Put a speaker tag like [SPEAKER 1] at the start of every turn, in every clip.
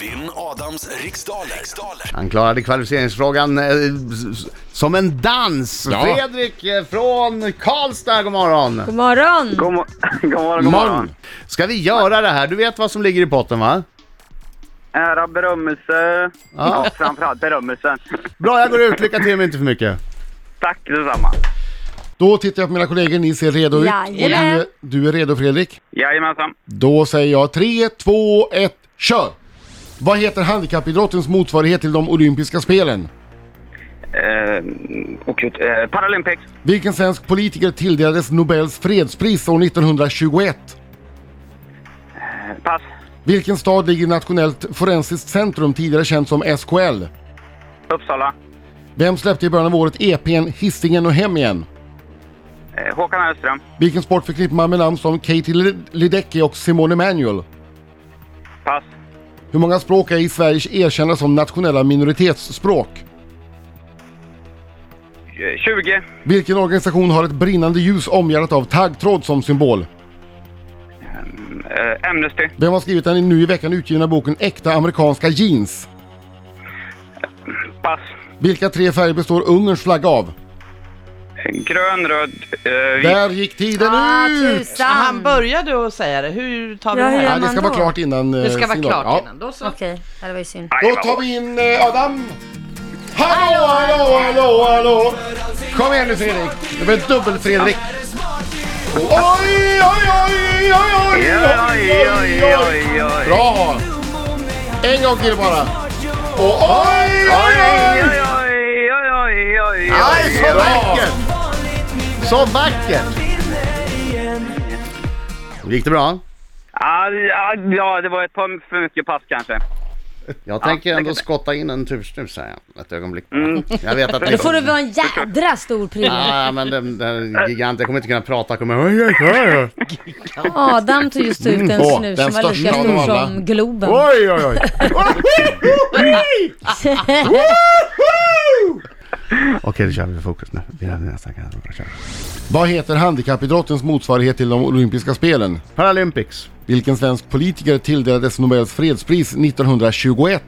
[SPEAKER 1] Vinn Adams riksdaler. riksdaler.
[SPEAKER 2] Han klarade kvalificeringsfrågan eh, s- s- som en dans.
[SPEAKER 3] Ja.
[SPEAKER 2] Fredrik eh, från Karlstad, god morgon.
[SPEAKER 4] God morgon!
[SPEAKER 5] God, mo- god morgon, god morgon.
[SPEAKER 2] Ska vi göra det här? Du vet vad som ligger i potten va?
[SPEAKER 5] Ära, berömmelse.
[SPEAKER 2] Ja.
[SPEAKER 5] Ja. framförallt berömmelsen.
[SPEAKER 2] Bra, jag går ut. Lycka till men inte för mycket.
[SPEAKER 5] Tack detsamma.
[SPEAKER 3] Då tittar jag på mina kollegor, ni ser redo ut.
[SPEAKER 4] Jajamän.
[SPEAKER 3] Och du, du är redo Fredrik?
[SPEAKER 5] Jajamensan.
[SPEAKER 3] Då säger jag 3, 2, 1, kör! Vad heter handikappidrottens motsvarighet till de olympiska spelen?
[SPEAKER 5] Eh, och gud, eh, Paralympics.
[SPEAKER 3] Vilken svensk politiker tilldelades Nobels fredspris år 1921?
[SPEAKER 5] Eh, Pass.
[SPEAKER 3] Vilken stad ligger i Nationellt Forensiskt Centrum, tidigare känt som SKL?
[SPEAKER 5] Uppsala.
[SPEAKER 3] Vem släppte i början av året EPn Hissingen och hem igen?
[SPEAKER 5] Eh, Håkan Hellström.
[SPEAKER 3] Vilken sport förknippar man med namn som Katie Lid- Ledecky och Simone Emanuel?
[SPEAKER 5] Pass.
[SPEAKER 3] Hur många språk är i Sverige erkända som nationella minoritetsspråk?
[SPEAKER 5] Eh, 20.
[SPEAKER 3] Vilken organisation har ett brinnande ljus omgärdat av taggtråd som symbol?
[SPEAKER 5] Eh, Amnesty.
[SPEAKER 3] Vem har skrivit den nu i veckan utgivna boken Äkta amerikanska jeans?
[SPEAKER 5] Pass.
[SPEAKER 3] Vilka tre färger består Ungerns flagga av?
[SPEAKER 5] Grön, röd, eh, vit.
[SPEAKER 3] Där gick tiden
[SPEAKER 4] Ah,
[SPEAKER 3] ut!
[SPEAKER 6] Han
[SPEAKER 4] tusan!
[SPEAKER 6] började att säga det. Hur tar vi
[SPEAKER 4] Ja,
[SPEAKER 6] det
[SPEAKER 4] hur
[SPEAKER 6] här?
[SPEAKER 4] gör
[SPEAKER 3] Nej, det ska
[SPEAKER 4] man
[SPEAKER 3] vara
[SPEAKER 4] då?
[SPEAKER 3] klart innan eh,
[SPEAKER 6] Det ska vara
[SPEAKER 3] signal.
[SPEAKER 6] klart
[SPEAKER 3] Ja.
[SPEAKER 6] innan. Då så.
[SPEAKER 4] Okej, det här var ju synd.
[SPEAKER 5] Aj,
[SPEAKER 3] Då
[SPEAKER 5] vad
[SPEAKER 3] tar vi in eh, Adam! Hallå, hallå, hallå, hallå! Kom igen nu Fredrik! Det blir dubbel-Fredrik. Oj, oj, oj, oj, oj,
[SPEAKER 5] Oj, oj, oj, oj, oj.
[SPEAKER 3] Bra! En gång till bara. Och oj,
[SPEAKER 5] Oj,
[SPEAKER 3] oj,
[SPEAKER 5] oj,
[SPEAKER 3] oj!
[SPEAKER 5] oj, oj, oj, oj,
[SPEAKER 2] Aj,
[SPEAKER 5] oj.
[SPEAKER 2] så vackert! Så vackert! Gick det bra?
[SPEAKER 5] Ah, ja, Ja, det var ett par för mycket pass kanske.
[SPEAKER 2] Jag tänker
[SPEAKER 5] det
[SPEAKER 2] ändå
[SPEAKER 5] kan det.
[SPEAKER 2] skotta in en tursnus här. Ett ögonblick. Jag vet att ni...
[SPEAKER 4] Då får du vara en jädra stor prilla.
[SPEAKER 2] Ja, men den där giganten, jag kommer inte kunna prata. Jag kommer... Oj, oj, oj,
[SPEAKER 4] Adam tog just ut en
[SPEAKER 3] Mm. Åh,
[SPEAKER 4] snus
[SPEAKER 3] den
[SPEAKER 4] som var
[SPEAKER 3] största
[SPEAKER 4] lika
[SPEAKER 3] av
[SPEAKER 4] stor
[SPEAKER 3] dem alla.
[SPEAKER 4] som Globen.
[SPEAKER 2] oj, oj, oj. Okej, då kör vi fokus nu. Vi hade nästan kanske kör.
[SPEAKER 3] Vad heter handikappidrottens motsvarighet till de olympiska spelen?
[SPEAKER 2] Paralympics.
[SPEAKER 3] Vilken svensk politiker tilldelades Nobels fredspris 1921?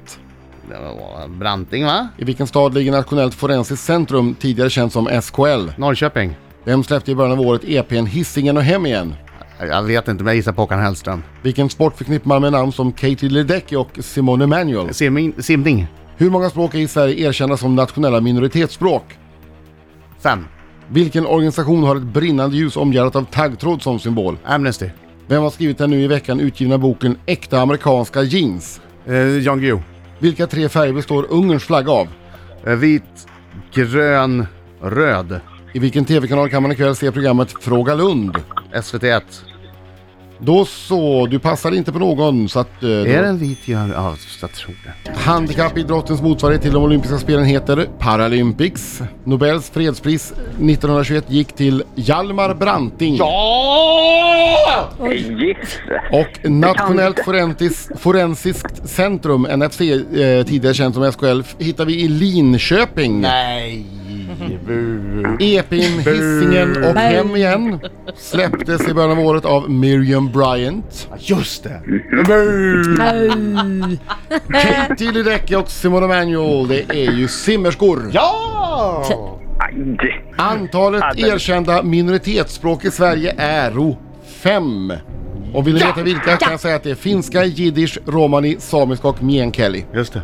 [SPEAKER 2] Det var Branting, va?
[SPEAKER 3] I vilken stad ligger Nationellt Forensiskt Centrum, tidigare känt som SKL?
[SPEAKER 2] Norrköping.
[SPEAKER 3] Vem släppte i början av året EPn Hissingen och hem igen?
[SPEAKER 2] Jag vet inte, men jag gissar på Håkan Hellström.
[SPEAKER 3] Vilken sport förknippar man med namn som Katie Ledecky och Simone Emanuel?
[SPEAKER 2] Simning. simning.
[SPEAKER 3] Hur många språk är i Sverige erkända som nationella minoritetsspråk?
[SPEAKER 2] Fem.
[SPEAKER 3] Vilken organisation har ett brinnande ljus omgärdat av taggtråd som symbol?
[SPEAKER 2] Amnesty.
[SPEAKER 3] Vem har skrivit den nu i veckan utgivna boken Äkta amerikanska jeans?
[SPEAKER 2] Eh, Jan Guillou.
[SPEAKER 3] Vilka tre färger består Ungerns flagga av?
[SPEAKER 2] Eh, vit, grön, röd.
[SPEAKER 3] I vilken TV-kanal kan man ikväll se programmet Fråga Lund?
[SPEAKER 2] SVT1.
[SPEAKER 3] Då så, du passar inte på någon så att... eh,
[SPEAKER 2] Är
[SPEAKER 3] då-
[SPEAKER 2] det en vit grön? Ja, jag tror det.
[SPEAKER 3] Handikappidrottens motsvarighet till de olympiska spelen heter Paralympics. Nobels fredspris 1921 gick till Hjalmar Branting.
[SPEAKER 5] Yes.
[SPEAKER 3] Och Nationellt Forentis, Forensiskt Centrum, NFC, eh, tidigare känt som SKL, f- hittar vi i Linköping.
[SPEAKER 2] Nej! bu.
[SPEAKER 3] EPn Hisingen och Hem igen släpptes i början av året av Miriam Bryant.
[SPEAKER 2] Just det! Bu.
[SPEAKER 3] Katie Ledecky och Simone Emanuel, det är ju simmerskor.
[SPEAKER 2] Ja!
[SPEAKER 5] Aj.
[SPEAKER 3] Antalet
[SPEAKER 5] Ja, den-
[SPEAKER 3] erkända minoritetsspråk i Sverige är fem. Och vill ni veta vilka kan jag säga att det är finska, jiddisch, romani, samiska och meänkieli.
[SPEAKER 2] Just det.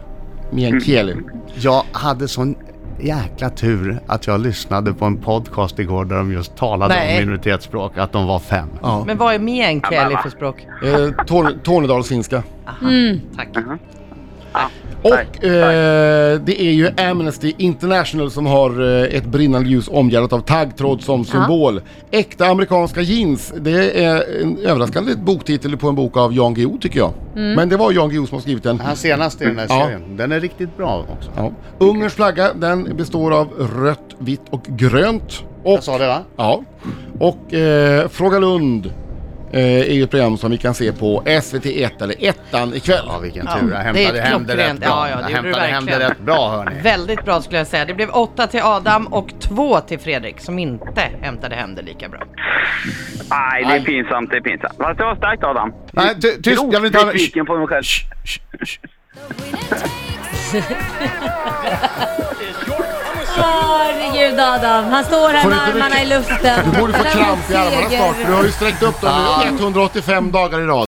[SPEAKER 3] Meänkieli.
[SPEAKER 2] Jag hade sån jäkla tur att jag lyssnade på en podcast igår där de just talade
[SPEAKER 6] Nej.
[SPEAKER 2] om minoritetsspråk, att de var fem.
[SPEAKER 3] Ja.
[SPEAKER 6] Men vad är meänkieli för språk?
[SPEAKER 3] Eh, Torn- Tornedalsfinska.
[SPEAKER 6] Tack.
[SPEAKER 3] Och eh, det är ju Amnesty International som har eh, ett brinnande ljus omgärdat av taggtråd som symbol. Äkta amerikanska jeans, det är en överraskande boktitel på en bok av Jan Guillou tycker jag. Men det var Jan Guillou som har skrivit den.
[SPEAKER 2] Han senaste i den här
[SPEAKER 3] Ja.
[SPEAKER 2] serien. Den är riktigt bra också.
[SPEAKER 3] Ja. Ungerns flagga den består av rött, vitt och grönt. Och,
[SPEAKER 2] Jag sa det va?
[SPEAKER 3] ja. och eh, Fråga Lund eh, är ju ett program som vi kan se på SVT1 eller ettan ikväll.
[SPEAKER 2] Ja vilken
[SPEAKER 6] Ja,
[SPEAKER 2] tur. Jag
[SPEAKER 6] det är
[SPEAKER 2] hämtade
[SPEAKER 6] ett
[SPEAKER 2] hem det rätt
[SPEAKER 6] klockrent-
[SPEAKER 2] bra.
[SPEAKER 6] ja, ja, det
[SPEAKER 2] jag
[SPEAKER 6] gjorde du
[SPEAKER 2] hämtade hem det
[SPEAKER 6] verkligen.
[SPEAKER 2] rätt bra hörni.
[SPEAKER 6] Väldigt bra skulle jag säga. Det blev åtta till Adam och två till Fredrik som inte hämtade hem det lika bra.
[SPEAKER 5] Nej, det är pinsamt, det är pinsamt. Fast det var starkt Adam.
[SPEAKER 2] 哎 Nej, ty- tyst, jag vill inte ha...
[SPEAKER 5] Grovt besviken på mig själv.
[SPEAKER 2] Shh, shh, shh.
[SPEAKER 4] Herregud Adam, han står här
[SPEAKER 3] Får
[SPEAKER 4] med
[SPEAKER 3] inte du-
[SPEAKER 4] armarna i luften.
[SPEAKER 3] Du borde få
[SPEAKER 4] Det här var en
[SPEAKER 3] kramp i armarna
[SPEAKER 4] seger.
[SPEAKER 3] snart för du har ju sträckt upp dem nu 185 dagar i rad.